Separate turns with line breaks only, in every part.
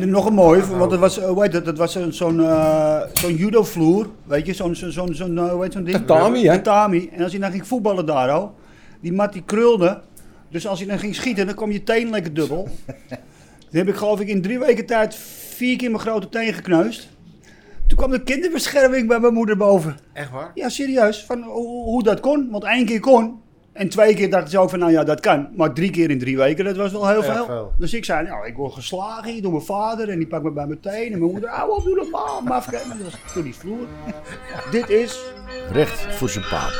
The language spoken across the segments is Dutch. En nog een mooi,
nou.
want dat was, eh, hoe heet het, dat was een- zo'n eh, zo'n judo-vloer, weet je, zo'n zo'n zo'n zo'n, eh, hoe heet zo'n ding?
Tatami, hè?
Tatami. En als je dan ging voetballen daar al, die mat die krulde, dus als je dan ging schieten, dan kwam je teen lekker dubbel. dan heb ik geloof ik in drie weken tijd vier keer mijn grote teen gekneusd. Toen kwam de kinderbescherming bij mijn moeder boven.
Echt waar?
Ja, serieus, van hoe, hoe dat kon, want één keer kon. En twee keer dacht ik zo van, nou ja, dat kan. Maar drie keer in drie weken, dat was wel heel
Heel
veel.
veel.
Dus ik zei, nou, ik word geslagen hier door mijn vader en die pakt me bij mijn teen. En mijn moeder, ah, wat doe normaal, maar dat was door die vloer. Dit is...
Recht voor zijn paap.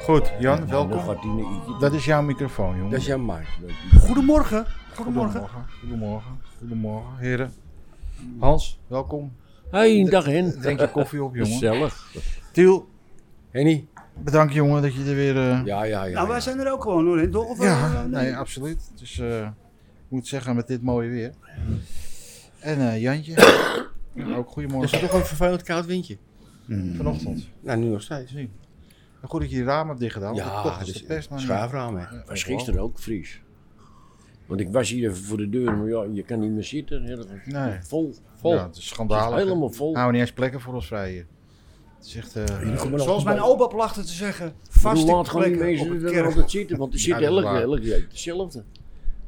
Goed, Jan,
Nou, dan
welkom.
gaat hij naar Ietje.
Dat is jouw microfoon, jongen.
Dat is jouw mic.
Goedemorgen. Goedemorgen.
Goedemorgen. Goedemorgen. Goedemorgen, heren. Hans, welkom.
Hey, dag Hen.
Drink je koffie op, jongen.
Gezellig.
Tiel,
Dus, eh, Henny?
bedankt jongen dat je er weer... eh,
Ja, ja, ja.
Nou, wij zijn er ook gewoon hoor, hè, toch? Of, eh,
Ja,
nee.
nee, absoluut. Dus eh, ik moet zeggen, met dit mooie weer. En eh, Jantje, Ja, ook
Is het
goedemorgen
toch een vervelend koud windje?
vanochtend.
Nou, nu nog steeds.
Goed dat je die ramen hebt dichtgedaan. want
Ja, dus
toch
dat
is
is
de pers nou niet-
schuifraam, hè.
Was gisteren ook Fries. Want ik was hier even voor de deur, maar ja, je kan niet meer zitten. Ergens.
Nee.
Vol, vol.
Ja, het is schandalig. hè.
Helemaal vol.
Houden we niet eens plekken voor ons vrij hier. Het is echt... eh,
Kom maar nog
Zoals
een
mijn
beetje.
opa plachtte te zeggen,
Hoe
vaste
laat gaan die
plekken op
mensen
het
er dan
kerk.
altijd zitten? Want er
Ja,
zitten
dat is
elke,
waar.
elke week hetzelfde.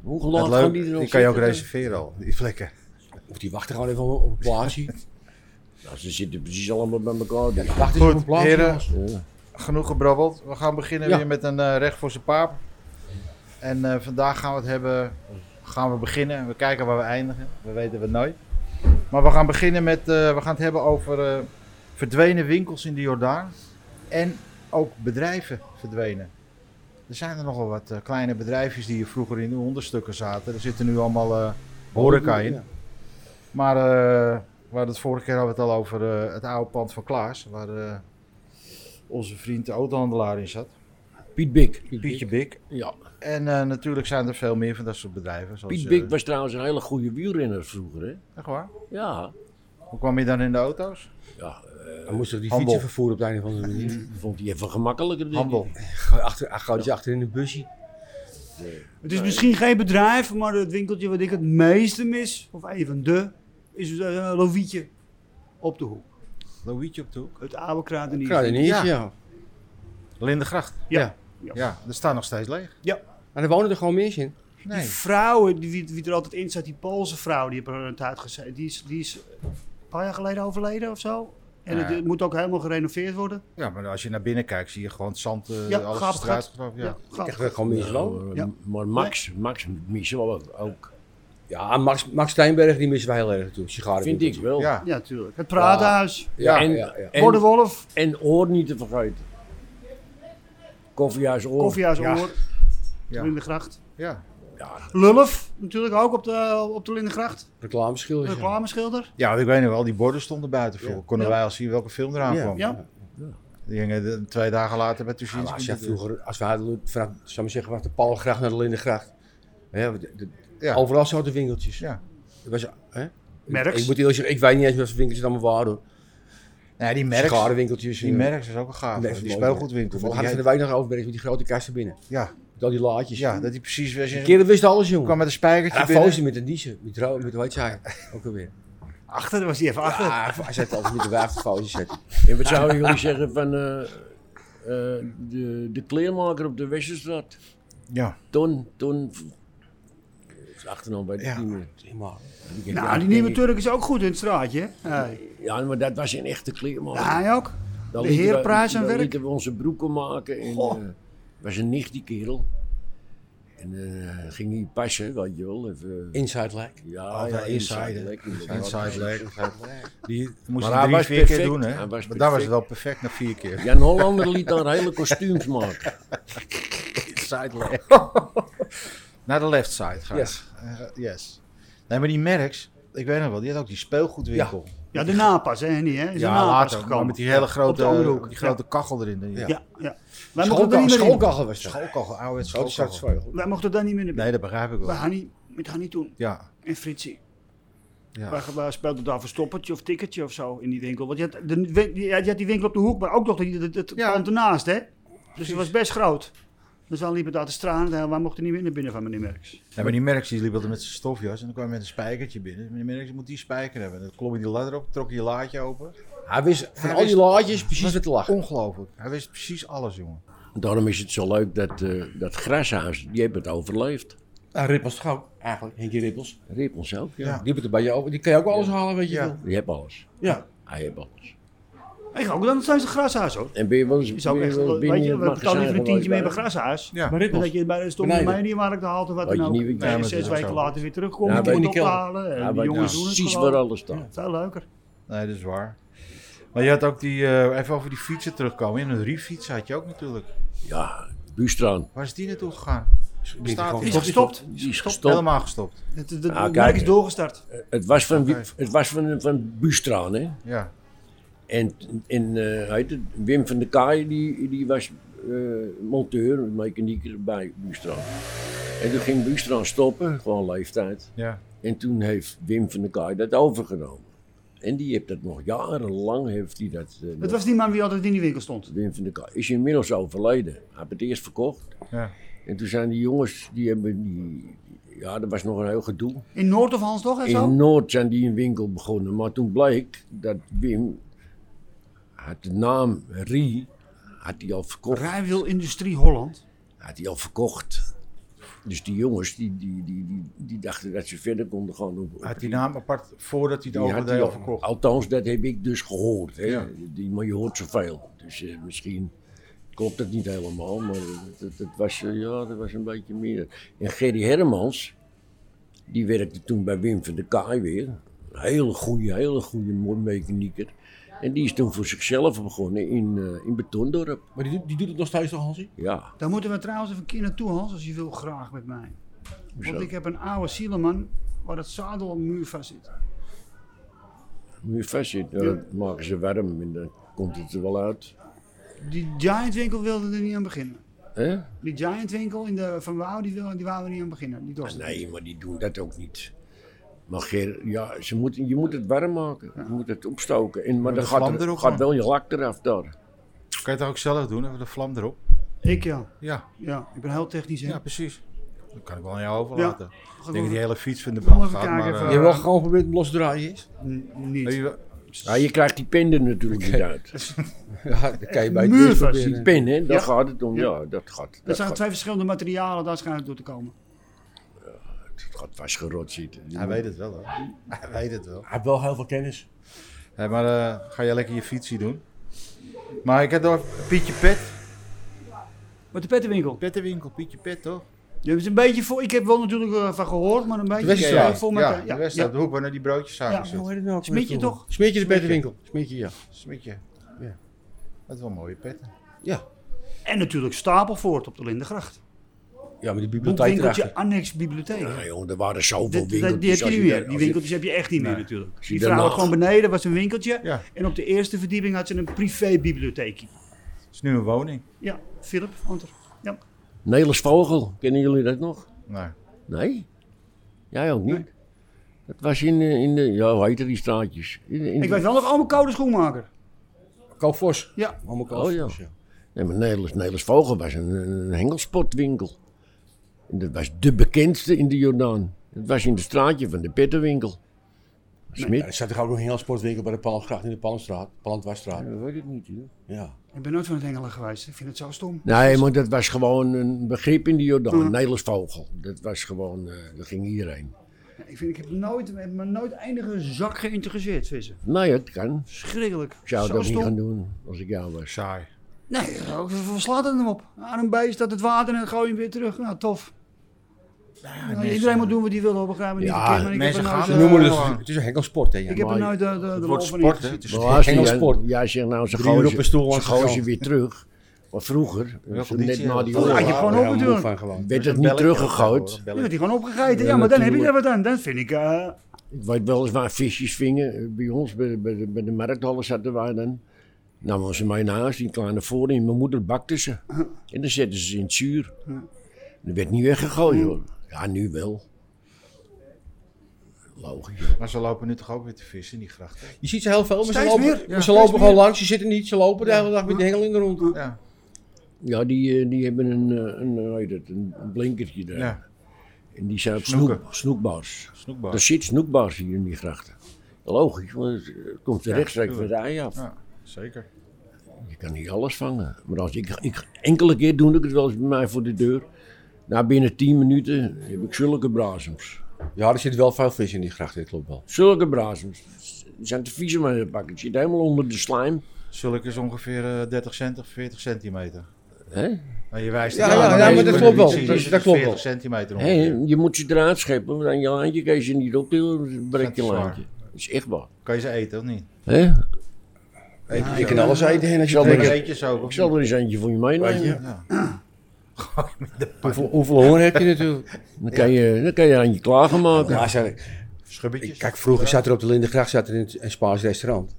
Hoe laat
Het
gaan
leuk,
die er
die
dan
kan je ook
zitten?
reserveren al, die plekken.
Of die wachten gewoon even op op een plaatsje.
Nou, ze zitten precies allemaal bij elkaar. Dus.
Wachten ze op een
Goed,
plaatsje.
heren,
jongens.
Ja.
genoeg gebrabbeld. We gaan beginnen
Ja.
weer met een eh, recht voor zijn paap. En eh, vandaag gaan we het hebben, gaan we beginnen. We kijken waar we eindigen, we weten het nooit. Maar we gaan beginnen met, eh, we gaan het hebben over eh, verdwenen winkels in de Jordaan. En ook bedrijven verdwenen. Er zijn er nogal wat eh, kleine bedrijfjes die hier vroeger in de hondenstukken zaten. Er zitten nu allemaal eh horeca in.
Ja.
Maar eh we hadden het vorige keer hadden we het al over eh, het oude pand van Klaas, waar eh, onze vriend de autohandelaar in zat.
Piet Bik.
Pietje Bik.
Ja.
En eh, natuurlijk zijn er veel meer van dat soort bedrijven. Zoals,
Piet
eh,
Bik was trouwens een hele goede wielrenner vroeger. Hè?
Echt waar?
Ja.
Hoe kwam je dan in de auto's?
ja.
Dan moesten we die
Handel.
fietsen vervoeren op de een of andere manier.
Vond hij even gemakkelijker. denk ik.
Handel.
Gewoon Mm. achter, gewoon achter in een busje.
Het is misschien geen bedrijf, maar het winkeltje wat ik het meeste mis, of een van de, is eh, een Lovietje op de hoek.
Louietje op de hoek.
Het oude kraten
Kruideniers,
Ja.
ja. ja.
Lindegracht.
Ja.
Ja.
Ja. dat staat nog steeds leeg.
Maar er wonen er gewoon mensen in.
Die
Nee.
vrouwen die, die, die er altijd in zat, die Poolse vrouw, die hebben er een tijd gezeten. Die is, die is een paar jaar geleden overleden of zo. En het,
Ja.
het moet ook helemaal gerenoveerd worden.
Ja, maar als je naar binnen kijkt zie je gewoon het zand, eh,
Ja,
alles
gaap,
de straat. getrokken. Ja.
Ja, gaaf.
Echt eh, gewoon mensen wonen.
Eh,
Ja.
Maar Max, Max missen we ook. ook.
Ja, Max, Max Steinberg die missen wij heel erg toe.
Vind ik wel.
Ja.
ja, tuurlijk. Het Praathuis,
Ja,
En-
ja, ja.
En,
Oh,
Bordenwolf,
en Oor niet te vergeten. Koffiehuis Oor.
Koffiehuis
Ja.
Oor,
Ja.
Lindengracht.
Ja.
Ja,
Lulf, natuurlijk ook op de, op de Lindengracht.
Reclameschil.
Reclameschilder.
ja, want ik weet nog wel, die borden stonden buiten voor. Konden
Ja.
wij al zien welke film eraan
Ja.
kwam.
Ja.
Die hingen de- twee dagen later bij Tuzinski.
als, jij vroeger, als we hadden, vanaf, zou ik zeggen, vanaf de Palmgracht naar de Lindengracht. Hè, want de- de-
Ja.
Overal zaten winkeltjes.
Ja.
Er was, hè?
Merks.
Ik, moet eerlijk zeggen, ik weet niet eens wat voor winkeltjes het allemaal waren. eh,
Nee, die merks.
Scharenwinkeltjes.
Die merks is ook een gaaf.
Nee,
die
mooi.
speelgoedwinkel.
We
met
hadden
die
van de wijk nog overberg met die grote kasten binnen.
heet- Ja,
Met al die laadjes.
ja, dat die precies was.
Die
Je
kerel wist alles, jongen.
kwam met een spijkertje
Hij
binnen.
foosde met een niezen. Met, ro- met hoe heet zij? Ook alweer.
Achter, daar was hij even achter.
Ah, hij zet altijd met de wijf te fozen zetten.
En wat zouden jullie zeggen van eh, eh, de, de kleermaker op de Westerstraat?
Ja.
Ton, Ton. eh, Achternaam bij de
Ja.
ja. team.
Prima.
Nou, die nieuwe Turk is ook goed in het straatje. hè? Hey.
Ja, maar dat was een echte kleermaker.
Ja, hij ook.
Dan
de
lieten we-
heerprijs en
dan
werk.
lieten we onze broeken maken. En,
Goh.
eh, was een nicht die kerel. En eh, ging hij passen, weet je wel. Even,
Inside leg.
ja,
Altijd
ja,
Oh, eh, inside, hè?
lekker.
Inside leg. Die moest
Maar
hij
hij
drie,
was
vier keer
perfect.
doen, hè?
Hij was
Maar daar
perfect.
was het wel perfect na vier keer.
Jan Hollander liet daar hele kostuums maken.
Side leg. Naar de left side gaan.
Yes.
Eh, yes. Nee, maar die merks, ik weet nog wel, die had ook die speelgoedwinkel. Ja,
Ja, de napas, hè, niet hè? Is de napas
nou later.
gekomen.
maar Met die hele
Op de
grote,
andere hoek.
die grote kachel erin.
Ja.
Ja, ja. Wij mochten er niet
Schoolkachel
meer in.
schoolkachel was dat. Oh,
Schoolkachel, oude
Grote zwarte
schoolkachel.
schoolkachel.
Wij mochten daar niet meer in.
Nee, dat begrijp ik
We
wel.
gaan niet, we gaan niet doen.
Ja,
En Fritsie.
Ja.
Waar, waar speelde daar verstoppertje of tikkertje of zo in die winkel? Want je had, de, win- je had je had die winkel op de hoek, maar ook nog die- het, het
Ja.
pand ernaast, hè? Dus het was best groot. Dus dan liepen daar de straat en wij mochten niet meer naar binnen van meneer Merks.
Ja, maar die Merks die liep altijd met zijn stofjas en dan kwam hij met een spijkertje binnen. Meneer Merks je moet die spijker hebben. En dan klom hij die ladder op, trok hij je laadje open.
Hij wist van
Hij
al die
wist-
laadjes precies wat te lachen.
Ongelooflijk. Hij wist precies alles, jongen.
Daarom is het zo leuk dat eh, dat grashuis, die hebben het overleefd.
Nou, Rippels toch ook, eigenlijk. Henkie Rippels.
Rippels ook, ja.
Ja. Die, hebben er bij je over. die kan je ook alles halen, weet je
Ja.
wel.
Die hebben alles.
Ja.
Hij heeft alles.
Ik ga ook dan zijn ze grashaas hoor.
En ben je wel eens,
Is ook
ben je
echt,
wel eens binnen
weet
in
je,
het
we betalen
magazijn
liever een tientje meer bij
geweest?
grashaas.
Ja.
Maar
Dan
Rippels.
Dat je bij de stond bij
Beneden.
mij niet waar ik de halte wat
Weet
dan
je
ook.
niet wie-
Nee,
Ja, maar
zes
dat is
weken
ook zo.
later weer terugkomt.
Ja,
Ja,
weet
moet
je
het
niet, Kelder.
ophalen. En
Hij
de
weet
jongens doen het
precies
gewoon.
waar alles staat.
Veel leuker.
Nee, dat is waar. Maar je had ook die, eh, even over die fietsen terugkomen. In een riefiets had je ook natuurlijk.
Ja, Bustraan.
Waar is die naartoe gegaan? Bestaat
gewoon
die?
Is gestopt.
Die is gestopt.
Helemaal gestopt.
Het, het, het
Nou,
merk
kijk,
is
hè.
doorgestart.
Het was van, Wi-
Oké.
het was van, van Bustraan, hè.
Ja.
En, en eh, hoe heet het? Wim van der Kaai, die, die was eh, monteur, mechanieker bij Bustraan. En toen ging Bustraan stoppen, gewoon leeftijd.
Ja.
En toen heeft Wim van der Kaai dat overgenomen. En die heeft dat nog jarenlang, heeft hij dat... eh, nog-
Het was die man die altijd in die winkel stond.
Wim van der Kaai is inmiddels overleden. Hij heeft het eerst verkocht.
Ja.
En toen zijn die jongens, die hebben die... Ja, dat was nog een heel gedoe.
In Noord of Hans toch en zo?
In Noord zijn die een winkel begonnen, maar toen bleek dat Wim had de naam Rie had hij al verkocht.
Rijwiel Industrie Holland.
Had hij al verkocht. Dus die jongens die, die, die, die, die dachten dat ze verder konden gaan. Op, op-
Had die naam apart voordat hij
die
het
had hij
overdeel
al-
verkocht.
Althans, dat heb ik dus gehoord. Hè?
Ja.
Die, maar je hoort zoveel. Dus eh, misschien klopt het niet helemaal, maar het, het- het was, eh, ja, dat was een beetje meer. En Gerry Hermans, die werkte toen bij Wim van der Kaai weer. Een hele goede, hele goede mechanieker. En die is toen voor zichzelf begonnen in, eh, in Betondorp.
Maar die, doet- die doet het nog steeds toch, Hansie?
Ja,
Daar moeten we trouwens even een keer naartoe, Hans, als je wil, graag met mij.
Hoezo?
Want ik heb een oude Sieleman waar het zadel op de muur vast zit.
moet je vastzitten. Ja, dan maken ze warm en dan komt het er wel uit.
Die Giant winkel wilde er niet aan beginnen.
Hè?
Die Giant winkel in de Van Wouw, die, wil, die wou er niet aan beginnen. Die dorst.
Nee, maar die doen dat ook niet. Maar Ger, ja, ze moeten, je moet het warm maken. Je moet het opstoken. En, maar
de
dan gaat,
vlam er
er,
ook
gaat
aan.
wel je lak eraf daar.
Kan je het dan ook zelf doen? Even de vlam erop.
Ik ja.
Ja.
ja. Ik ben heel technisch, hè?
Ja, precies. Dat kan ik wel aan jou overlaten.
Ga
Ik denk dat die
door.
hele fiets van de
Kom
brand
even
gaat.
kijken
Maar,
even.
eh,
Je hebt wel gewoon geprobeerd om los te draaien is.
N- Niet.
heb je wel-
Ja, je krijgt die pen er natuurlijk niet uit.
Ja, dat kan je bij
Muur
het
vast.
Die
proberen.
pen, hè, daar
Ja.
gaat het om.
Ja.
Ja, dat gaat.
Dat
Dat,
zijn
gaat,
twee verschillende materialen daar schijnt door te komen.
dat gaat vastgerot zitten. Je
Hij
moet-
weet het wel, hè? Hij weet het wel.
Hij heeft wel heel veel kennis.
Hé, maar eh, ga jij lekker je fietsie doen? Maar ik heb door Pietje Pet.
Maar de pettenwinkel.
Pettenwinkel, Pietje Pet, toch?
Je hebt een beetje voor, ik heb wel natuurlijk eh, van gehoord, maar een beetje
Westerstraat.
eh, voor
ja,
elkaar.
de West uit de hoek waar nou die
Ja,
broodjes zagen
Hoe
zitten.
heet het nou? ook weer
Smitje
vroeger?
toch?
Smitje is bij de winkel. Smitje, ja.
Smitje.
Ja.
Dat is wel mooie petten.
Ja,
En natuurlijk Stapelvoort op de Lindengracht.
ja maar die
Het
bibliotheek
winkeltje
erachter.
Annex Bibliotheek.
Nou, jongen, er waren zoveel
Dit- dit-
winkeltjes.
die heb je
als
niet
daar-
meer. Die
als je-
winkeltjes heb je echt niet meer
Nee.
natuurlijk.
zie
Die vrouw had
daarnaast.
gewoon beneden, was een winkeltje.
Ja.
En op de eerste verdieping had ze een privébibliotheekje.
Het is nu een woning.
Ja, Philip, Anter. Ja.
Nelis Vogel, kennen jullie dat nog?
Nee.
Nee? Jij ook niet? Dat was in, eh, in de, ja, hoe heette die straatjes? In, in
Ik
de-
weet wel nog allemaal koude schoenmaker.
Koopvos.
Ja.
Allemaal
Oh, ja.
Koopvos, ja.
Nee, maar Nederlands, Nederlands Vogel was een, een hengelsportwinkel. En dat was de bekendste in de Jordaan. Het was in het straatje van de pettenwinkel. Smit?
Ja, Er zat toch ook nog een heel sportwinkel bij de Palmgracht in de Palmstraat, Palmdwarsstraat.
dat weet ik niet. Hoor.
Ja.
Ik ben nooit van het Engelen geweest. Ik vind het zo stom.
Nee, maar dat was gewoon een begrip in de Jordaan.
Mhm.
Nederlands Vogel. Dat was gewoon, eh, dat ging iedereen.
Ik, vind, ik heb nooit, ik heb me nooit enige zak geïnteresseerd vissen.
Nou ja, het kan.
Schrikkelijk.
Ik zou
zo
het ook
stom.
niet gaan doen als ik jou was.
Saai.
Nee, eh, we slaat het hem op. Aan een beest dat het water en dan gooi je hem weer terug. Nou, tof. Nou,
mensen-
iedereen moet doen wat hij wil, hoor. begrijp me niet
Ja,
verkeerd, maar ik
mensen
heb er
gaan
nooit,
Ze
eh,
noemen het,
gewoon.
het is een henkelsport, hè. Ja.
Ik heb er
maar-
nooit eh, de, de, de
Het
lol
wordt
van
sport, hè? Het
ingezien.
is
Maar als
Engels
die-
sport.
Jij zegt nou, ze
Drie uur
gooien
op een stoel
ze,
langs de
gooien ze
grond.
weer terug. Maar vroeger,
Welke
net
conditie
na
had
die
het?
Oh, had je
oorlog,
gewoon
Ja,
opgeduwd.
moe van gewoon.
werd het niet teruggegooid.
Je werd die gewoon opgegeten. Ja, maar dan heb je dat wat aan. Dan vind ik... eh,
Ik weet wel eens waar visjes vingen. Eh, Bij ons, bij, bij, de- bij de markthallen zaten wij dan. Namen ze mij naar huis, die kleine voorin. Mijn moeder bakte ze. En dan zetten ze ze in het zuur.
Mm.
Dat werd niet weggegooid hoor. Ja, nu wel. Logisch.
Maar ze lopen nu toch ook weer te vissen, die grachten?
Je ziet ze heel veel, maar ze
Steeds
lopen,
meer, ja,
maar ze
steeds
lopen
meer.
gewoon langs. Ze zitten niet, ze lopen de hele dag met de hengel in de rond.
Ja,
Ja, die, eh, die hebben een, eh, een, hoe heet het, een een blinkertje daar.
ja.
En die zijn op
Snoeken.
snoek, snoekbars.
snoekbaar.
Er zit snoekbars hier in die grachten. Logisch, want het komt
Ja,
rechtstreeks van
tuurlijk.
de ei af.
Ja, zeker.
Je kan niet alles vangen. Maar als ik, ik, enkele keer doe ik het wel eens bij mij voor de deur. Na binnen 10 minuten heb ik zulke brazems.
Ja, er zit wel veel vis in die gracht, dit klopt wel.
Zulke brazems. Die zijn te vies om aan te pakken. Het zit helemaal onder de slijm.
Zulk is ongeveer eh, 30 cent of 40 centimeter.
Hè?
Nou, je wijst
Ja,
het aan,
ja,
dan
ja,
weet
maar
je wat
dat klopt wel.
je ziet.
Dat-
Het is
dat klopt wel.
40 centimeter
Hé,
ongeveer.
je moet ze eruit scheppen, want aan je laantje kan je ze niet optillen. Dan breekt je
Dat is waar.
laantje. Dat is echt waar.
Kan je ze eten of niet?
Hè?
je kan alles eten en als je
Zal
dat
Lekker
ik
lekker...
eetjes ook.
Ik zal er eens eentje voor je
Weet je?
meenemen.
Hoeveel, hoeveel honger heb je natuurlijk?
Dan kan je, dan kan je aan je klagen maken.
Ja, zei ik,
Schubbetjes.
kijk, vroeger zat er op de Lindengracht zat er een, een Spaans restaurant.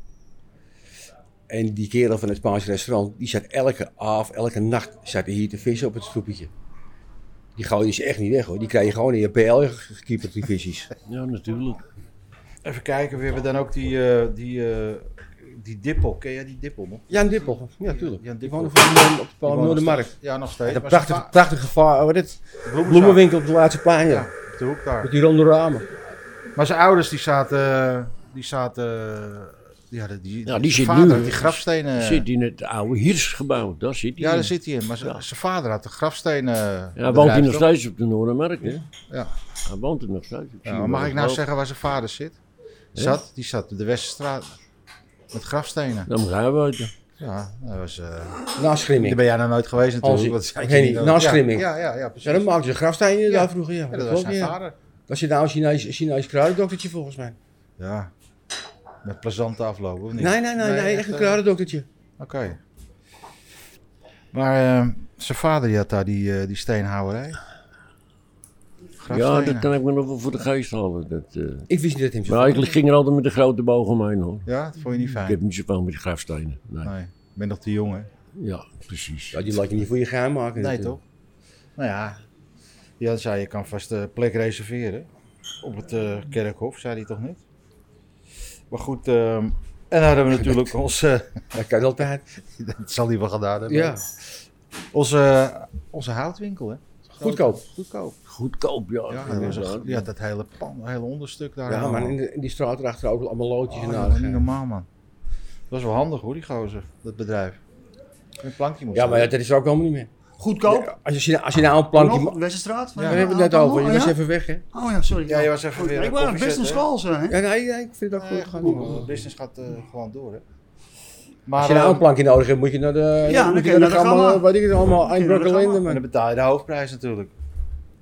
En die kerel van het Spaans restaurant, die zat elke avond, elke nacht zat hij hier te vissen op het stoepje. Die gooide ze echt niet weg hoor. Die krijg je gewoon in je PL gekieperd, die visjes.
Ja, natuurlijk.
Even kijken, we hebben dan ook die, eh, die, eh, die dippel. Ken jij die dippel nog?
Jan Dippel, ja tuurlijk.
Jan
Die
Dippel.
woonde van, eh, op de
Die woont nog
Noordermarkt.
steeds. Ja, nog steeds.
Een
maar
prachtige,
ze-
prachtige va- wat is dit?
bloemenzaak.
bloemenwinkel op de laatste pagina.
Ja, op de hoek daar.
Met die ronde ramen.
Maar zijn ouders die zaten, eh, die zaten, eh, die hadden die,
Ja, die
zijn
zit
vader
nu.
had die grafstenen.
Zit in het oude Hiersgebouw, daar zit hij.
ja,
in.
daar zit hij in. Maar zijn zijn vader had de grafstenen.
Ja, hij woont hij nog steeds op de Noordermarkt, hè?
Ja.
Hij woont er nog steeds.
Ja, maar mag ik nou zeggen waar zijn vader zit? Zat, die zat op de Westerstraat met grafstenen.
Dan moet hij weten.
Ja, dat was. eh
Na
daar
schrimming.
ben jij nou nooit geweest natuurlijk.
Als-
want dat
ik
had je
weet niet,
nodig.
na schimming.
Ja, ja, ja, precies.
Ja, dan maakten ze grafstenen
Ja.
daar vroeger. Ja,
Ja,
dat
dat was
klopt,
zijn
ja.
vader.
Dat zit nou een Chinees, Chinees kruidendoktertje volgens mij.
Ja. Met plezante afloop, of niet?
Nee, nee, nee, nee, echt een
eh,
kruidendoktertje.
Oké. Maar eh, zijn vader die had daar die, eh, die steenhouwerij.
Ja,
Grafstenen.
dat kan ik me nog wel voor de geest halen. Dat, eh.
Ik wist niet dat het hem
Maar
zo
eigenlijk ging er altijd met de grote boog omheen hoor.
Ja, dat vond je niet fijn.
Ik heb niet zoveel met grafstenen. Nee.
Nee, ik ben nog te jong, hè?
Ja, precies.
Ja, die laat je niet voor je geheim maken.
Nee,
natuurlijk.
toch? Nou ja, Jan zei, je kan vast eh plek reserveren. Op het eh, kerkhof, zei hij toch niet? Maar goed, ehm, en dan hadden we natuurlijk onze...
Dat kan altijd.
dat zal hij wel gedaan hebben.
Ja,
Onze, onze houtwinkel, hè?
goedkoop.
Goedkoop.
Goedkoop, ja.
Oh,
Ja, dat was
inderdaad.
een- ja, dat hele pan, hele onderstuk daar.
Ja,
allemaal.
maar in, de- in die straat erachter ook allemaal loodjes
Oh,
en
dat was niet
aardigheid.
normaal, man. Dat was wel handig, hoor, die gozer. Dat bedrijf. Een plankje moest
Ja, maar
hebben.
dat is er ook helemaal niet meer.
Goedkoop.
Ja, Als je, als je nou een plankje...
Nog,
ma-
Westerstraat.
Daar hebben we het net over. Je was even weg, hè?
Oh ja, sorry.
Ja, je was even weer
Ik
een
was
koffie
best een
zetten, hè?
school, hè?
Ja, nee, nee, ik vind het ook
Nee,
goed.
gaat
gaan.
niet, man. De business gaat eh, gewoon door, hè. Maar,
Als je nou
ehm,
een plankje nodig hebt, moet je naar de...
Ja, dan
moet
kun
je
je naar de
gamma,
gamma.
Weet ik het allemaal, Eindbrugge
gamma.
Linden,
en dan
man.
betaal je de hoofdprijs natuurlijk.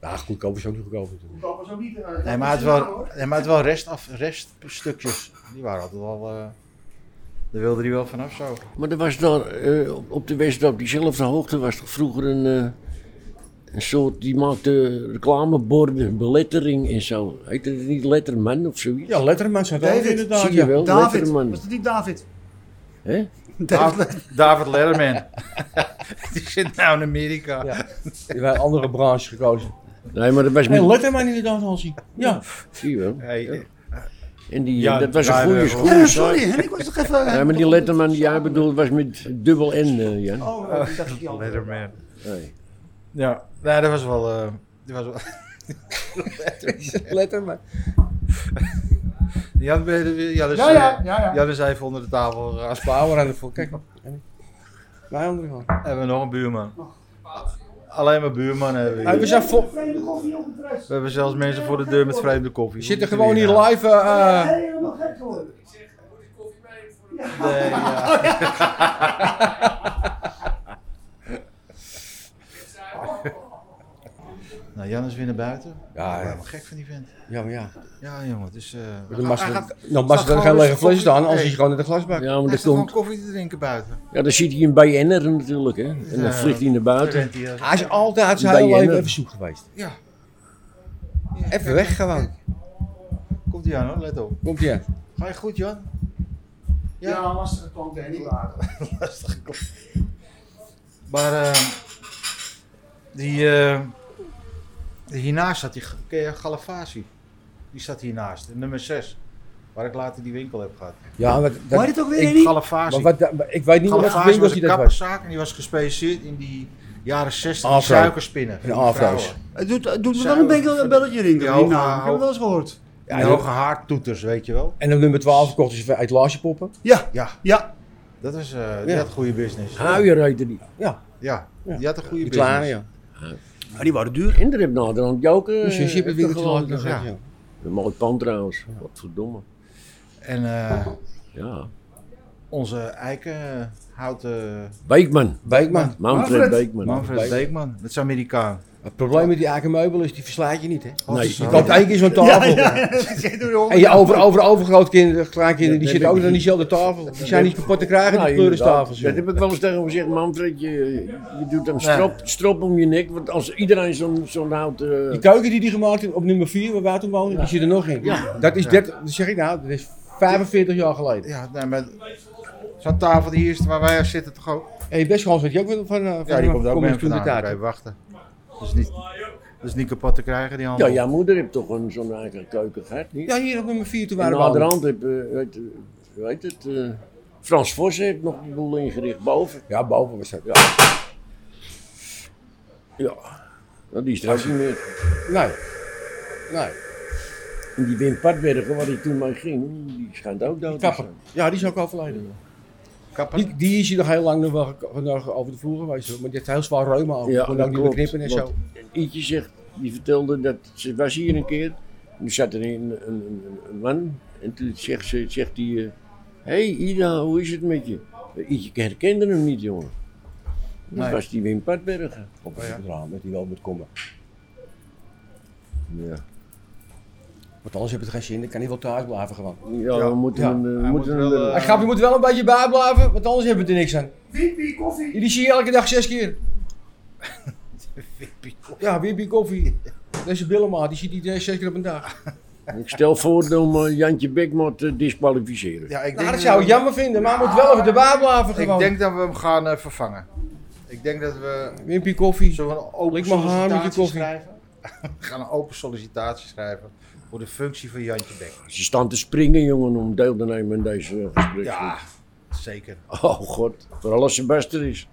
Ja, goedkoop is ook niet goedkoop. natuurlijk.
eh,
Nee, maar het Oh, wel, nee, maar het wel rest af, reststukjes. Die waren altijd wel. eh daar wilde hij wel vanaf zo.
Maar er was daar, eh, op- op de Westdorp, diezelfde hoogte, was toch vroeger een, eh, een soort, die maakte reclameborden, belettering en zo. Heette het niet Letterman of zoiets?
Ja, Letterman zou het ook
David,
inderdaad.
zie je
ja.
wel.
David.
Letterman.
Was het niet David?
Hè?
David.
David Letterman. die zit nou in Amerika.
Ja. Die waren andere branche gekozen.
Nee, maar dat was
Nee,
niet...
Letterman inderdaad, Hansie. Ja.
Zie je wel.
Hey, eh,
En die, eh,
Ja,
dat was een
ja,
goede
ja,
school.
Ja, sorry, hè? Ik was toch even...
Nee, maar die Letterman die jij bedoelt was met dubbel N, eh, Jan.
Oh, ik dacht dat die andere-
Letterman.
Nee.
Ja. Nee, dat was wel. eh die was wel.
Letterman.
Die had weer- weer- ja, dus,
Ja, ja,
eh,
ja, ja.
die hadden ze even onder de tafel eh, gegaan.
Bauer aan de voor. Kijk. Wij andere gewoon.
Hebben we nog een buurman? Alleen maar buurman hebben we.
Hey, we,
hier.
zijn vol-
We hebben zelfs mensen voor de deur met vreemde koffie.
we zitten
Hoe
gewoon
moet je
hier
nou?
live. eh, eh,
Nee, ja.
Oh,
nou, Jan is weer naar buiten.
Ja,
ik
ja.
ben wel gek van die vent.
ja, maar ja.
Ja, jongen, het is... eh,
Dan
hij
mag ze
gaat-
er- dan mag ze er
staat
geen
gewoon
lege
eens
fles staan, anders
koffie-
is hij gewoon in de glasbak.
Ja, maar
hij
dat
staat gewoon
komt...
koffie te drinken buiten.
Ja, dan zit hij een BN'er natuurlijk, hè. En dan
Ja.
vliegt hij naar buiten.
Rent hij als-
Hij is altijd zijn
Ben
hele
je
leven
er?
even zoek geweest.
Ja.
Even weg gewoon.
Komt hij aan hoor, let op.
Komt ie aan.
Ga je goed, Jan?
Ja, lastige klant, hè? Niet waar.
Maar ehm, eh, die, eh, hiernaast zat die G- ken je Galafasi. Die staat hiernaast. Nummer 6. Waar ik later die winkel heb gehad.
Ja, maar, dat,
Waar je het ook weer
In
in?
maar
Galafasi.
wat, da- maar ik weet niet wat voor
Galafasi
winkels
was
die
een
dat was.
kapperszaak en die was gespecialiseerd in die jaren 60 die
Afro.
suikerspinnen. van
En
die
afro's.
vrouwen.
Het doet, het doet me wel
Zou-
een beetje een belletje rinken.
Ja,
Die
hoog-
naam. Ik heb het wel eens gehoord.
Ja,
Ja,
die
dat-
hoge haartoeters, weet je wel.
En op nummer 12 verkochten ze uit Laasjepoppen.
Ja,
Ja,
ja.
dat is, eh, die
Ja.
had goede business.
Huier heette die.
Ja,
Ja,
Ja.
die had een goede
die
business.
kleine, ja. Nou,
Maar die waren duur.
En er heb naderhand Joker.
Dus je ziet het winkeltje laten
Een eh,
gaan,
ja.
ja.
mooi pand trouwens. Wat verdomme.
En eh,
Ja.
onze eikenhouten
Beekman.
Beekman.
Manfred
Manfred.
Beekman.
Manfred Beekman, dat is Amerikaan.
Het probleem met die eikenmeubel is, die verslaat je niet, hè.
Wat
Nee,
is
Je
dat?
koopt één keer zo'n tafel. En je over, over, overgrootkinderen, kleinkinderen, die
Ja, dat
zitten ook
heb
aan
ik
diezelfde tafel. Die zijn niet kapot te krijgen, die
Nou,
pleurenstafels.
inderdaad. Dat
joh.
heb ik wel eens tegen hem gezegd, Manfred. Je, je doet een strop, strop om je nek. Want als iedereen zo'n zo'n houten.
Die keuken die die gemaakt heeft op nummer 4, waar wij toen woonden, die zit er nog in. Dat is 30, dat zeg ik nou, dat is 45 jaar geleden.
Ja, nee, maar zo'n tafel die hier is, waar wij zitten toch ook?
En je best gewoon dat je ook weer van, eh, van
Ja, die komt ook
kom eens
mee
toen de
vandaan,
taart.
Even wachten. Dat is, niet, dat is niet kapot te krijgen, die handel.
ja, jouw moeder heeft toch een, zo'n eigen keuken gehad? Niet?
Ja, hier op nummer 4 toen
en
waren we
aan de
aan
hand heb, eh, weet, eh, hoe heet het, eh, Frans Vos heeft nog een boel ingericht boven.
Ja, boven Oh, was dat.
Ja. Nou, die is trouwens niet meer.
Nee. Nee.
En die Wim Padbergen, waar ik toen mee ging, die schijnt ook dood te
Kapper.
zijn.
Ja, die is ook overleden.
Kapper.
Die, die is hier nog heel lang nog wel gek- nog over de vloer geweest. hoor. Maar die heeft heel zwaar reuma over. Ja, kon Oh, ook niet meer knippen en zo.
want Ietje zegt, die vertelde dat ze was hier een keer. En er zat er een, een, een, een man en toen zegt ze, zegt hij, eh, hey Ida, hoe is het met je? Eh, Ietje herkende hem niet, jongen. Dat
Nee.
was die Wim Padbergen.
Op
Oh, ja.
het raam, dat die wel moet komen.
Ja.
Want anders heeft het geen zin, dan kan hij wel thuis blijven gewoon.
Ja,
Ja,
we moeten
ja.
hem, eh, we
Hij
moeten
moet
hem
wel,
er-
Maar grap, je moet er wel een beetje bij blijven, want anders hebben we er niks aan.
Wimpy, koffie.
Jullie zie je elke dag zes keer. Ja, Wimpy Koffie. Dat is een billenmaat, die ziet die eh, zes keer op een dag.
eh, Ik stel voor om eh, Jantje Bekma te disqualificeren.
Ja, ik denk,
Nou, dat zou ik jammer vinden, maar hij moet wel even erbij blijven
ik
gewoon.
denk dat we hem gaan eh, vervangen. Ik denk dat we
Wimpy Koffie.
zullen we een open
Lik mijn haar met je
sollicitatie
koffie.
schrijven. we gaan een open sollicitatie schrijven voor de functie van Jantje Beck.
Ze staan te springen, jongen, om deel te nemen aan deze eh, gespreksgroep.
Ja, zeker.
Oh god, vooral als ze best er is.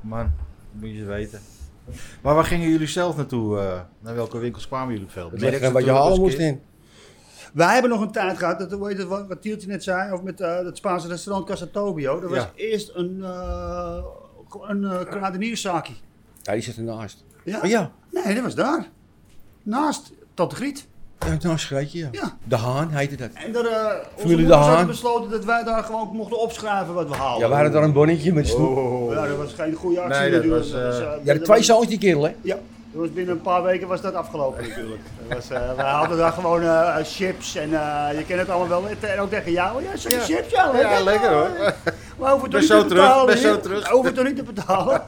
Man, moet je weten. Maar waar gingen jullie zelf naartoe? eh? naar welke winkels kwamen jullie veel?
Dat
Merks
ligt er wat je
natuurlijk
halen
als
moest
kind.
in.
Wij hebben nog een tijd gehad, dat, hoe heet het, wat, wat Tieltje net zei, of met eh het Spaanse restaurant Casa Tobio. Dat was
Ja.
eerst een, eh een eh kruidenierszaakje.
Ja, die zit ernaast.
Ja.
Oh ja,
Nee, dat was daar. Naast Tante Griet.
ja naast Greetje, ja.
Ja.
De Haan heette dat.
En daar, eh onze
Familie
moeders
De Haan.
hadden besloten dat wij daar gewoon mochten opschrijven wat we haalden.
Ja, we hadden daar een bonnetje met snoep.
Oh.
Ja, dat was geen goede actie
Nee, dat
natuurlijk.
was,
Dat
eh,
eh,
Ja, de
dat
twee
was-
zoons die kerel, hè.
Ja, dat was binnen een paar weken was dat afgelopen natuurlijk. Dat was, eh, we hadden daar gewoon eh, chips en eh, je kent het allemaal wel. En ook tegen jou, ja, zo'n
Ja.
chips, ja, lekker.
Ja, lekker hoor.
Maar hoeven toch
Ben
niet
zo
te
terug,
betalen.
ben zo
hè?
terug.
Hoeven toch niet te betalen.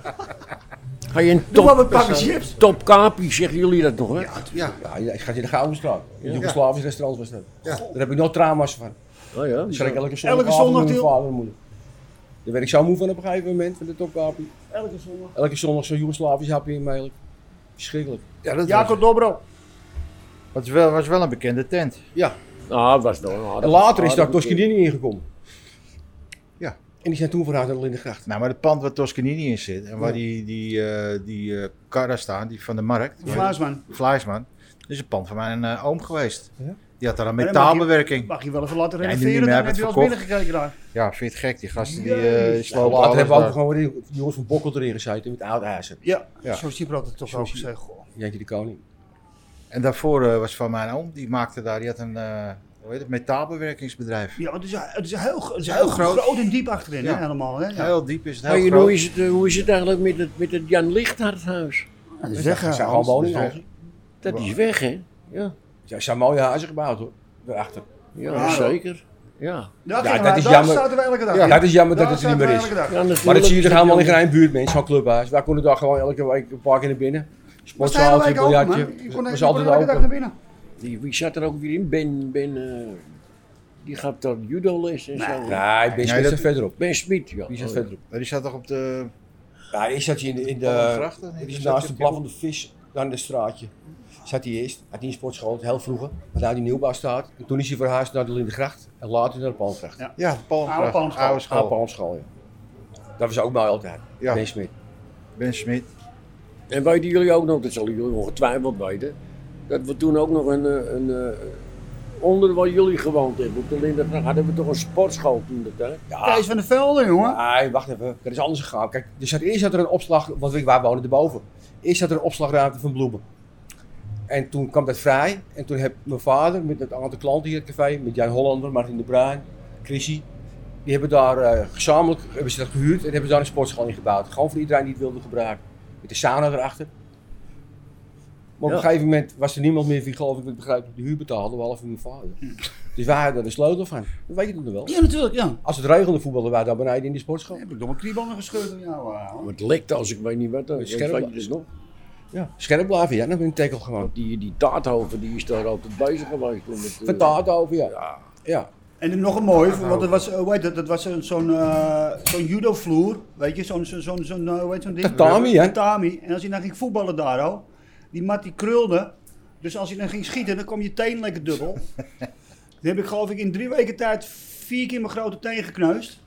Ga je een
Doe maar wat
top,
pakken chips.
top kapie, zeggen jullie dat nog, hè?
Ja,
Ja, je gaat in de Gouden Straat. In het Joegoslavisch restaurant was dat.
Ja.
Daar heb ik nog trauma's van.
Oh ja,
Dan zat ik elke zondag,
Elke zondag,
elke zondag met mijn
Tiel.
vader en moeder. Daar werd ik zo moe van op een gegeven moment, van de topkapie.
Elke zondag.
Elke zondag zo'n Joegoslavisch hapje in mijn Verschrikkelijk.
ja dat was,
Jacob Dobro.
was, wel, was wel een bekende tent.
Ah, dat was nog een aardige-
En later is daar
aardige keer.
Toscanini ingekomen.
eh, Ja.
En die zijn toen verhuisd naar Lindengracht.
Nou, maar het pand waar Toscanini in zit en waar die, die, eh, die eh, karren staan, die van de markt,
Vlaasman.
Vlaisman, dat is een pand van mijn eh, oom geweest.
Ja?
Die had daar een
Maar dan mag je-
metaalbewerking.
Mag je wel even laten
Ja, en die
renoveren,
meer
dan
hebben
heb je wel
het
eens binnengekeken daar.
Ja, vind je het gek, die gasten die
Jezus.
eh slopen
later hebben we ook
alles daar.
gewoon weer die jongens van Bokkel erin gezeten met oud ijzer.
Ja,
Ja.
zo Sieper had het toch ook
Zo-
gezegd. Goh.
Jantje de Koning.
En daarvoor eh, was van mijn oom, die maakte daar, die had een eh, hoe heet het, metaalbewerkingsbedrijf.
Ja, het is, het is heel, het is
Heel
heel,
groot.
groot. en diep achterin
Ja.
hè, helemaal. Hè? Ja.
Heel diep is het, heel
Hey, en
groot.
hoe, is het, eh, hoe is het eigenlijk met het, met het Jan Lichthardhuis?
Dat is eh,
Ze
weg, hè,
zijn gewoon
Hans.
woningen.
dus
Ze
Dat is weg, hè? Ja,
zijn mooie huizen gebouwd hoor. Daarachter.
ja,
Ja.
zeker. Ja.
Daar,
Ja,
gingen
dat
wij-
is
daar
jammer.
zaten we elke dag.
Ja, dat is jammer dat
Daar
het er niet meer
zaten
is.
we elke dag.
Ja, natuurlijk
Maar dat zie je
is
er
het
helemaal in
Jan-
geen buurt, mensen, zo'n clubhuis. Wij konden daar gewoon elke week een paar keer naar binnen.
Was de hele
Sportzaal,
week open,
biljartje.
man. Je kon
was
echt
altijd
elke dag
open.
naar binnen.
Die, wie zat er ook weer in? Ben, ben eh, die gaat daar judo les en zo.
Nee,
Nee,
Ben Smit
dat-
zat verderop.
Ben Smit, ja.
Die zat
Oh,
verderop.
Maar die zat toch op de...
Ja, ik zat hier in de, in de,
Van de grachten?
het
Is
is
dat
naast
je-
de blaffende vis dan de straatje. zat hij eerst, had hij een sportschool, heel vroeger, maar daar die nieuwbouw staat. En toen is hij verhuisd naar de Lindegracht en later naar de Palmgracht.
Ja.
Ja,
Oude
Palmgracht.
Palmgracht.
Oude
Ah,
school.
Palmschool, ja. Dat was ook bij altijd,
Ja.
Ben Smit.
Ben Smit.
En weten jullie ook nog, dat zullen jullie ongetwijfeld weten, dat we toen ook nog een, eh, een eh, onder waar jullie gewoond hebben, op de Lindengracht, hadden we toch een sportschool toen dat tijd.
Ja.
Thijs van de Velden, jongen.
Nee, Ah, wacht even. Dat is anders gegaan. Kijk, er zat, eerst zat er een opslag, want wij- wij wonen erboven. Eerst zat er een opslagruimte van bloemen. En toen kwam dat vrij. En toen heb mijn vader met een aantal klanten hier in het café, met Jan Hollander, Martin de Bruin, Chrissy. Die hebben daar eh, gezamenlijk hebben ze dat gehuurd en hebben daar een sportschool in gebouwd. Gewoon voor iedereen die het wilde gebruiken. Met de sauna erachter. Maar op
Ja.
een gegeven moment was er niemand meer die, geloof ik, begrijp, de huur betaalde, behalve mijn vader. Dus wij hadden er de sleutel van. Dat weet je toen nog wel.
Ja, natuurlijk, ja.
Als het regende voetballen wij dan beneden in de sportschool.
Heb ik domme kriebanden gescheurd op jou, eh, hoor.
Maar Het lekte als ik weet niet wat. Dat
Scherp
weet je
was.
dus nog.
Ja. Scherp blijven, ja, dan ben je tackle gewoon.
Want die, die Taathoven die is daar altijd bezig geweest. Om het, eh,
Vertaald over, ja.
Ja,
ja. nou.
En nog een mooi, want dat was, eh, hoe heet dat, dat was een- zo'n eh, zo'n judo-vloer, weet je, zo'n, zo'n, zo'n, zo'n, eh, hoe heet zo'n ding?
Tatami, hè?
Tatami. En als je dan ging voetballen daar, oh, die mat die krulde, dus als je dan ging schieten, dan kwam je teen lekker dubbel. Die heb ik geloof ik in drie weken tijd vier keer mijn grote teen gekneusd.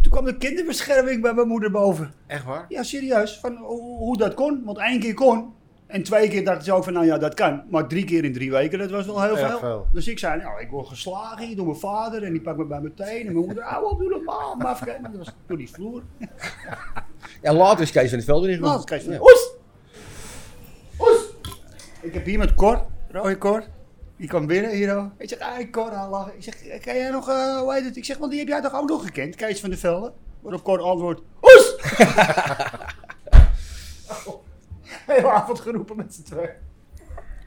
Toen kwam de kinderbescherming bij mijn moeder boven.
Echt waar?
Ja, serieus, van hoe, hoe dat kon, want één keer kon. En twee keer dacht ze ook van, nou ja, dat kan. Maar drie keer in drie weken, dat was wel heel
Erg
veel.
veel.
Dus ik zei, nou, ik word geslagen hier door mijn vader en die pakt me bij mijn teen. En mijn moeder, ah, wat doe normaal, maar vergeet me. Dat was door die vloer.
En later is Kees van het Veld erin
Nou,
gegaan.
dat krijg je
Ja.
van, oes! Oes! Ik heb hier met Cor, rode Cor. Die kwam binnen hier al. Ik zeg, ah, Cor, hij lacht. Ik zeg, ken jij nog, eh, hoe heet het? Ik zeg, want die heb jij toch ook nog gekend, Kees van de Velde? Waarop Cor antwoordt, oes! Hele avond geroepen met z'n tweeën.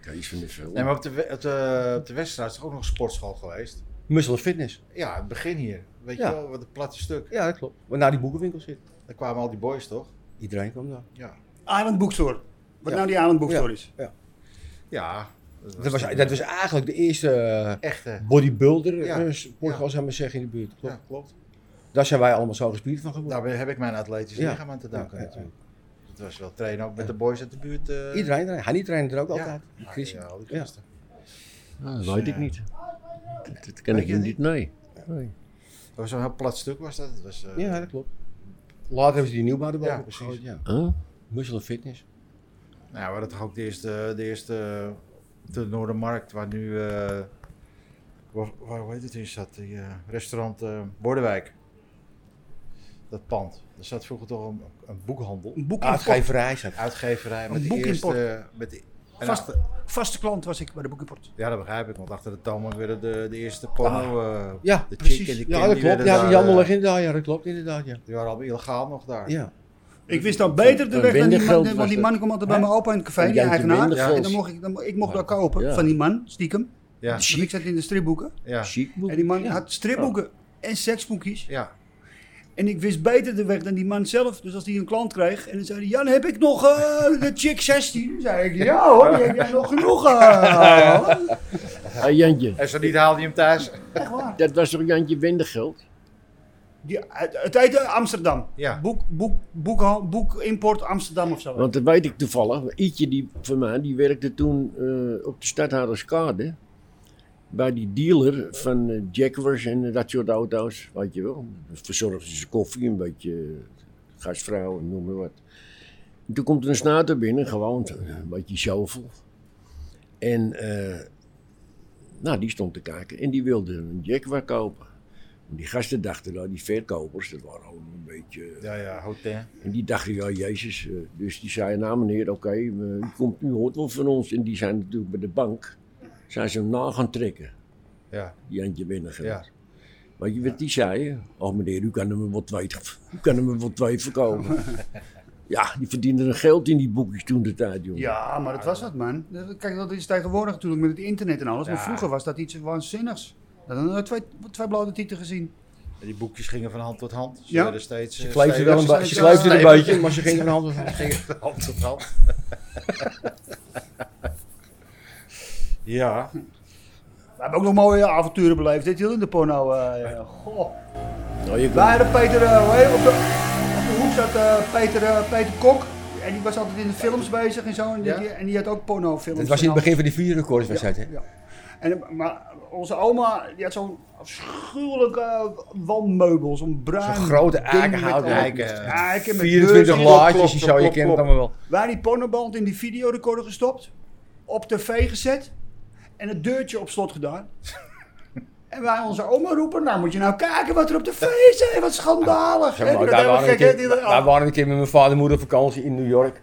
Kees van de Velde.
Nee, maar op de, we- op de, op de wedstrijd is toch ook nog een sportschool geweest?
Muscle en fitness.
Ja, het begin hier. Weet
Ja.
je wel, wat een platte stuk.
Ja, dat klopt. Waar na die boekenwinkel zit.
Daar kwamen al die boys toch?
Iedereen kwam daar.
Ja.
Island Bookstore. Wat
Ja.
nou die Island Bookstore is.
Ja.
Ja.
Dat, was, dat was eigenlijk de eerste eh,
echte.
bodybuilder
Ja.
eh, sportschool, zou ik maar zeggen, in de buurt. Klopt.
Ja, Nou, klopt.
Daar zijn wij allemaal zo gespierd van geworden.
Daar heb ik mijn atletische
Ja.
lichaam aan te danken
Ja, ja, ja.
natuurlijk. Het was wel trainen ook met de boys uit de buurt. eh,
Iedereen, iedereen. Hij trainde er ook
Ja.
altijd.
Ja,
Chris.
ja, al die
Ja.
gasten.
Ah, dat weet ik niet. Dat, dat ken
Weet
ik
je het
niet. Nee. nee.
Dat was zo'n heel plat stuk was dat. Het was, eh,
Ja, dat klopt. Later hebben ze die nieuwbouw erboven
Ja, precies.
gegooid, Ja.
Huh?
Muscle en fitness.
Nou, we hadden toch ook de eerste, de eerste eh, de Noordermarkt, waar nu, eh, waar, waar, hoe heet het in zat, die, eh, restaurant eh Bordewijk. Dat pand. Er zat vroeger toch een, een boekhandel,
Een
Ah,
boek
Uitgeverij zat.
uitgeverij met
Een
de
boekimport.
eerste, met de, en
Vaste,
achter-
vaste klant was ik bij de boekenport.
ja, dat begrijp ik, want achter de toonbank werden de, de eerste porno, eh,
Ah. Ja,
de
precies.
chick en de
ja,
Kim,
dat
die
klopt.
werden
Ja,
daar,
die Jan
eh,
Mullig inderdaad. Ja, dat klopt inderdaad. Ja.
die waren allemaal illegaal nog daar.
ja.
Ik wist dan beter de weg
Van
dan die man,
Windegeld
want
was
die
dat.
man kwam altijd bij
Hè?
mijn opa in het café,
Van
die
Jantje
eigenaar.
Windegeld.
En dan mocht ik, dan, mo- ik mocht daar
Ja.
kopen
Ja.
van die man, stiekem.
Ja,
Want ik zat in de stripboeken.
ja,
Chic boek.
En die man
Ja.
had stripboeken en seksboekjes.
ja.
En ik wist beter de weg dan die man zelf. Dus als hij een klant kreeg en dan zei hij, Jan, heb ik nog eh, de chick 16? Dan zei ik, ja hoor, die heb jij nog genoeg. eh, hoor."
Hey, Jantje,
En zo niet haalde hij hem thuis.
Echt waar.
dat was toch Jantje Windegeld?
Die, het, het heette Amsterdam.
Ja.
Boek, boek, boek, boekimport Amsterdam of zo.
Want dat weet ik toevallig. Ietje die, van mij, die werkte toen eh, op de Stadhouderskade. Bij die dealer van eh, Jaguars en eh, dat soort auto's, weet je wel. Verzorgden ze koffie, een beetje eh, gastvrouw en noem maar wat. En toen komt er een snater binnen, gewoon eh, een beetje shovel. En eh, nou, die stond te kijken en die wilde een Jaguar kopen. Die gasten dachten, nou, die verkopers, dat waren allemaal een beetje...
Ja, ja, hotel.
En die dachten, ja, Jezus. eh, Dus die zei, nou meneer, oké, eh, u, komt- u hoort wel van ons. En die zijn natuurlijk bij de bank, zijn ze hem na gaan trekken,
Ja,
die Jantje Winnegeld.
ja.
Weet je wat die zei? Oh meneer, u kan hem wel twee, u kan hem wel twee verkopen. ja, die verdienden er geld in die boekjes toen de tijd, jongen.
Ja, maar dat was dat, man. Kijk, dat is tegenwoordig natuurlijk met het internet en alles. Maar
Ja.
vroeger was dat iets waanzinnigs. Dan hadden we twee, twee blauwe tieten gezien.
En die boekjes gingen van hand tot hand. Ze
Ja.
werden steeds...
Ze
eh,
kleefde wel een,
steeds-
ba-
steeds-
ze kleefde een
steeds-
beetje, maar ze ging van hand tot hand.
hand tot hand. ja.
We hebben ook nog mooie avonturen beleefd. Dit heel in de porno. eh, ja. Goh.
Nou, je kon-
Wij hadden Peter, eh, hoe heet- op, de, op de hoek zat eh, Peter, eh, Peter Kok. En die was altijd in de films bezig en zo. En die,
Ja.
die- en die had ook pornofilms.
Dat was in het
gedaan.
begin van die vuurrecordswedstrijd, hè?
Ja. En, eh, maar onze oma die had zo'n afschuwelijke wandmeubel, zo'n bruin.
Zo'n grote
ding met
eikenhouten
al-
eiken.
eiken met
24
beurtjes.
laadjes
klopt,
en zo, je
klopt,
kent het
klopt.
allemaal wel.
Waar die pornoband in die videorecorder gestopt, op tv gezet en het deurtje op slot gedaan. en wij onze oma roepen, nou moet je nou kijken wat er op tv is, hè, wat schandalig.
Ja,
hè.
maar
Dat
wij,
helemaal
waren een
gek, hè, die- oh.
keer, wij waren een keer met mijn vader en moeder op vakantie in New York.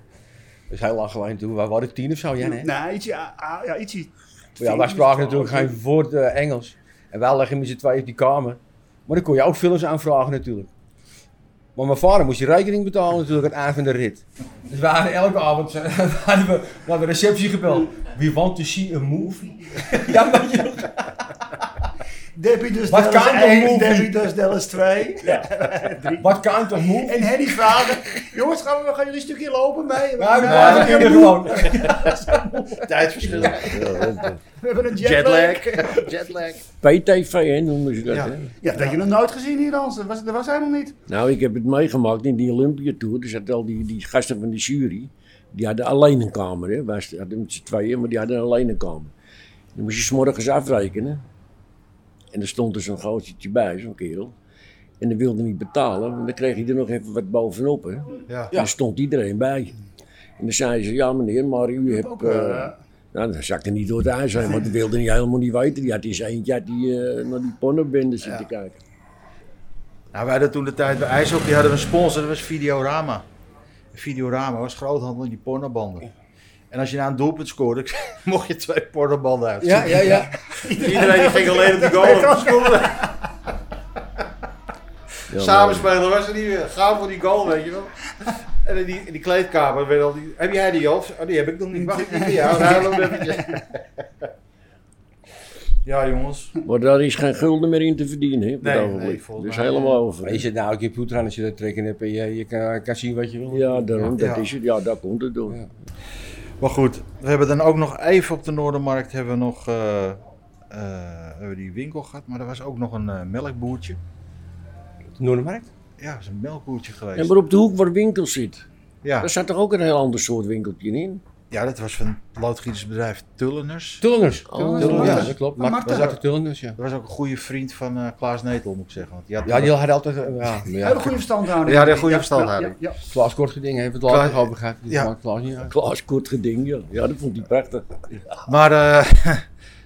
Dat is heel lang geleden toen. Wij waren tien of zo, ja, nee.
Nee, ietsje, ah, ah, ja, ietsje.
Maar ja, wij spraken natuurlijk geen woord eh, Engels. En wij leggen met z'n tweeën op die kamer. Maar dan kon je ook films aanvragen natuurlijk. Maar mijn vader moest je rekening betalen natuurlijk aan het eind van de rit. Dus wij hadden elke avond zo- hadden we naar de receptie gebeld. We want to see a movie. ja, maar je,
Debbie dus
Wat
Dallas
kan
1,
de movie?
Debbie dus Dallas 2.
wat kan toch movie?
En Henny vader, jongens gaan we, we gaan jullie een stukje lopen mee.
Ja, we
Nee,
waren
we,
kinderen gewoon.
Tijdverschil.
hebben een jetlag.
Jetlag. Jetlag.
PTV hè, noemen ze dat.
Ja.
Hè?
Ja, dat had je nog nooit gezien hier, Hans. Dat was, dat was helemaal niet.
Nou, ik heb het meegemaakt in die Olympiatour. Er zaten al die, die gasten van de jury. Die hadden alleen een kamer. Hè. Wij hadden met z'n tweeën, maar die hadden alleen een kamer. Dan moest je s'morgens afrekenen. En er stond dus een gootje bij, zo'n kerel. En die wilde niet betalen, want dan kreeg hij er nog even wat bovenop. Hè.
Ja.
En dan stond iedereen bij. En dan zei ze, ja meneer, maar u hebt...
Ook,
eh,
eh,
nou, dan zakte niet door het ijs heen, want die wilde niet helemaal niet weten. Die had eens eentje had die, eh, naar die pornobende zitten kijken.
Nou, wij hadden toen de tijd bij IJshockey hadden we een sponsor, dat was Videorama. Videorama was groothandel in die pornobanden. En als je na een doelpunt scoorde, mocht je twee pornobanden uit.
Ja, ja, ja.
Iedereen die ging alleen op die goal.
Ja, maar-
Samenspelen was er niet meer. Ga voor die goal, weet je wel. En in die, in die kleedkamer werd al die... Heb jij die, Jof? Oh, die heb ik nog niet. Mag ik die voor jou? Ruil hem eventjes. Ja, jongens.
Maar daar is geen gulden meer in te verdienen. Hè, op
Nee,
het
nee,
ogenblik.
volgens
dus
mij,
helemaal
Maar je
over.
zit nou een computer aan als je dat trekken hebt en je, je kan, kan zien wat je wil.
Ja, daarom, dat
Ja.
is het. Ja, daar komt het door.
Ja.
Maar goed, we hebben dan ook nog even op de Noordermarkt hebben we nog eh, eh, hebben we die winkel gehad, maar er was ook nog een eh, melkboertje.
Noordermarkt?
Ja, dat is een melkboertje geweest.
En maar op de hoek waar winkel zit,
ja.
daar zat toch ook een heel ander soort winkeltje in?
ja, dat was van het loodgietersbedrijf Tulleners.
Tulleners.
Oh.
Tulleners,
Ja.
ja, dat klopt.
Maar
Maar
Marta-
dat de Tulleners, ja.
Dat was ook een goede vriend van eh, Klaas Netel, moet ik zeggen. Want die had
Ja, die had altijd... eh, Ja, maar ja,
Hele goede verstandhouding.
Ja, die had goede verstandhouding.
Ja, ja,
Klaas Kortgeding heeft het
Klaas-
later nog over gehad.
ja.
Ja. Klaas niet uit.
Klaas kort geding, ja. Ja, dat vond hij prachtig.
Maar eh,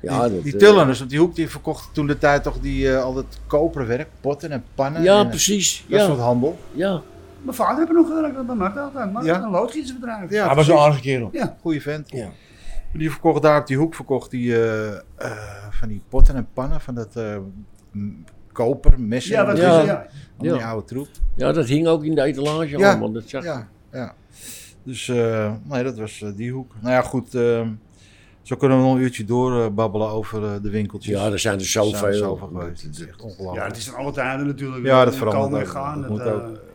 Ja,
die,
dat,
die
eh,
Tulleners op die hoek, die verkochten toen de tijd toch die, eh, al dat koperwerk, potten en pannen.
ja,
en, eh,
precies.
Dat
Ja,
soort handel.
ja.
Mijn vader heeft nog gewerkt, dat maakt altijd. Maar
Ja.
een loodgietersbedrijf.
Ja,
Hij was een
precies.
aardige kerel.
Goeie vent.
Ja.
Die verkocht daar op die hoek verkocht die, eh, eh, van die potten en pannen van dat eh, m- koper, messen.
Ja, wat
en
is
Ja.
het? Ja.
Al die
Ja.
oude troep.
ja, dat hing ook in de etalage
Ja.
allemaal. Dat zag
Ja, ja. Dus eh, nee, dat was eh, die hoek. Nou ja, goed. eh, zo kunnen we nog een uurtje doorbabbelen babbelen over eh, de winkeltjes.
ja, er zijn er
Er zijn er
zoveel.
zoveel geweest. Het is echt ongelooflijk.
ja, het is van alle tijden natuurlijk.
Ja, dat
We
verandert
Komen en
ook.
gaan. het,
Dat moet
eh,
ook.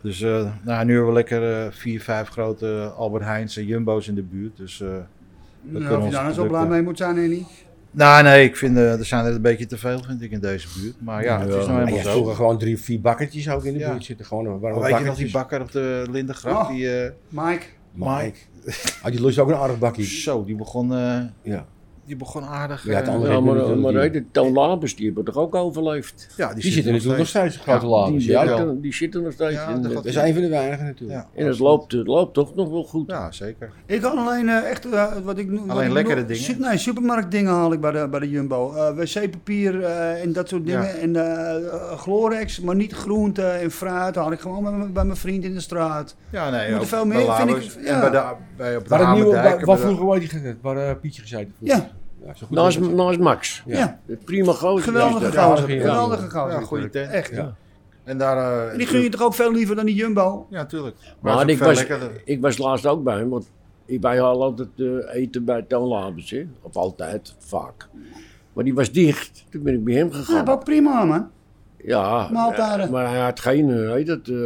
Dus eh, nou, nu hebben we lekker eh, vier, vijf grote Albert Heijn's en Jumbo's in de buurt. Dus, eh, kunnen
nou, of je
onze
daar nou zo blij
producten.
mee moet zijn, Henny.
nou nee, ik vind, eh, er zijn er een beetje te veel vind ik in deze buurt. Maar ja, het is
Ja.
nou
Maar
helemaal
je
zo.
vroeger gewoon drie of vier bakkertjes ook in de
Ja.
buurt zitten. Gewoon een warme
Oh, weet je nog die
bakkertjes.
bakker op de
Oh.
Lindengracht? Die, eh,
Mike.
Mike. Ah, die lust ook een aardig bakkie.
zo, die begon, eh,
Ja.
die begon aardig.
Ja, het
eh,
andere-
Ja, maar,
natuurlijk
maar
die-
hey, de Toon Labers, die hebben toch ook overleefd?
ja,
Die, zitten natuurlijk nog steeds, grote
Ja,
laders.
die,
Ja,
zitten-
dat
die zitten nog steeds
Ja,
in.
dat
eh,
gaat-
is een van de weinigen natuurlijk.
Ja,
en het loopt, het loopt toch nog wel goed.
Ja, zeker.
Ik had alleen eh, echt, eh, wat ik nu... wat
Alleen
ik
lekkere
bedoel-
dingen?
Su- nee, supermarktdingen haal ik bij de, bij de Jumbo. Eh, Wc-papier eh, en dat soort dingen.
Ja.
En eh, eh, Glorex, maar niet groente en fruit. haal ik gewoon bij, mijn- bij mijn vriend in de straat.
Ja,
Er
nee.
moeten
ook
veel
bij
meer, vind
Labus
ik,
en
ja.
Bij de, bij, op de
Waar het nieuwe,
Hamerdijk
waar,
en bij
waar
de- Nou,
vroeger waar die gezeten, waar eh, Pietje gezeten vroeger.
Ja,
Ja, zo goed
Naast,
als het-
naast Max.
ja.
Ja.
Eh, Prima gozer.
Geweldige
is dat.
gozer.
ja.
Geweldige
Ja,
gozer.
goede tent.
Echt.
Ja.
En daar... eh,
En die gun je toch ook veel liever dan die Jumbo?
Ja, tuurlijk.
Maar,
het is
ik,
ook
was,
veel lekkerder.
ik was laatst ook bij hem, want ik- wij halen altijd eh, eten bij Toon Labers, hè? Of altijd, vaak. Maar die was dicht, toen ben ik bij hem
Ja,
gegaan.
Ah, ook prima, man.
Ja,
Maaltijden.
eh, maar hij had geen, eh, heet dat, eh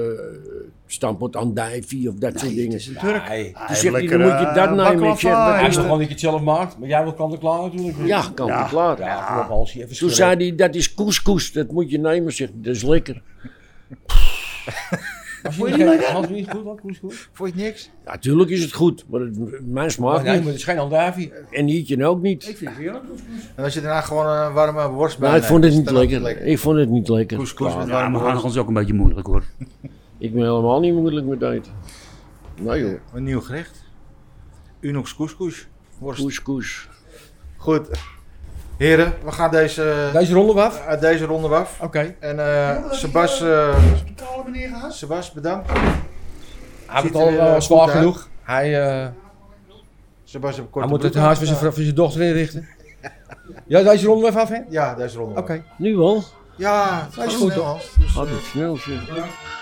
stampot andijvie of dat soort dingen.
Het is een Turk.
Nee.
Hij
Toen
heeft
zegt hij,
lekker,
dan moet je
eh,
dat nemen. Ik zeg,
baklava
dat
Hij
en-
is toch
is-
gewoon dat je het zelf maakt, maar jij wil kant en klaar natuurlijk.
ja, kan
Ja.
ik klaar.
Ja, vooral als je even
Toen
schudden.
zei hij, dat is couscous, dat moet je nemen. Zegt, hij, dat is lekker.
Was je niet, was je niet goed, man? Koes, koes.
Vond je het niks?
Natuurlijk is het goed, maar het, mijn smaak
nee,
niet.
maar het is geen Aldavi.
En Hietje nou ook niet.
Ik vind het heerlijk. couscous.
En als je daarna gewoon een warme worst bij
Maar Nou, ik
neemt,
vond het
is
niet
dan ook
lekker. Ik vond het niet lekker.
Couscous met
Ja,
warme
maar Hanegel
worst.
is ook een beetje moeilijk hoor.
Ik ben helemaal niet moeilijk met eten. Nee joh.
Een nieuw gerecht. Unox couscous. Worst.
Couscous.
Goed. Heren, we gaan deze,
Deze ronde af. Oké.
uit deze ronde af. En eh Sebas, eh,
Die koude meneer gehad?
Sebas, bedankt.
Hij
Ziet
heeft
er
al
weer,
eh,
eh,
zwaar
goed uit.
genoeg. Hij, eh,
Sebas heeft
hij
korte
moet het
broek
huis
aan.
van zijn, vrou- van zijn dochter inrichten. Ja, deze ronde even af, hè? Oké.
Ja, deze ronde. af.
Nu wel?
Ja, dat
is
is
goed,
goed. Dus, eh,
Had het snel zeg.
bedankt.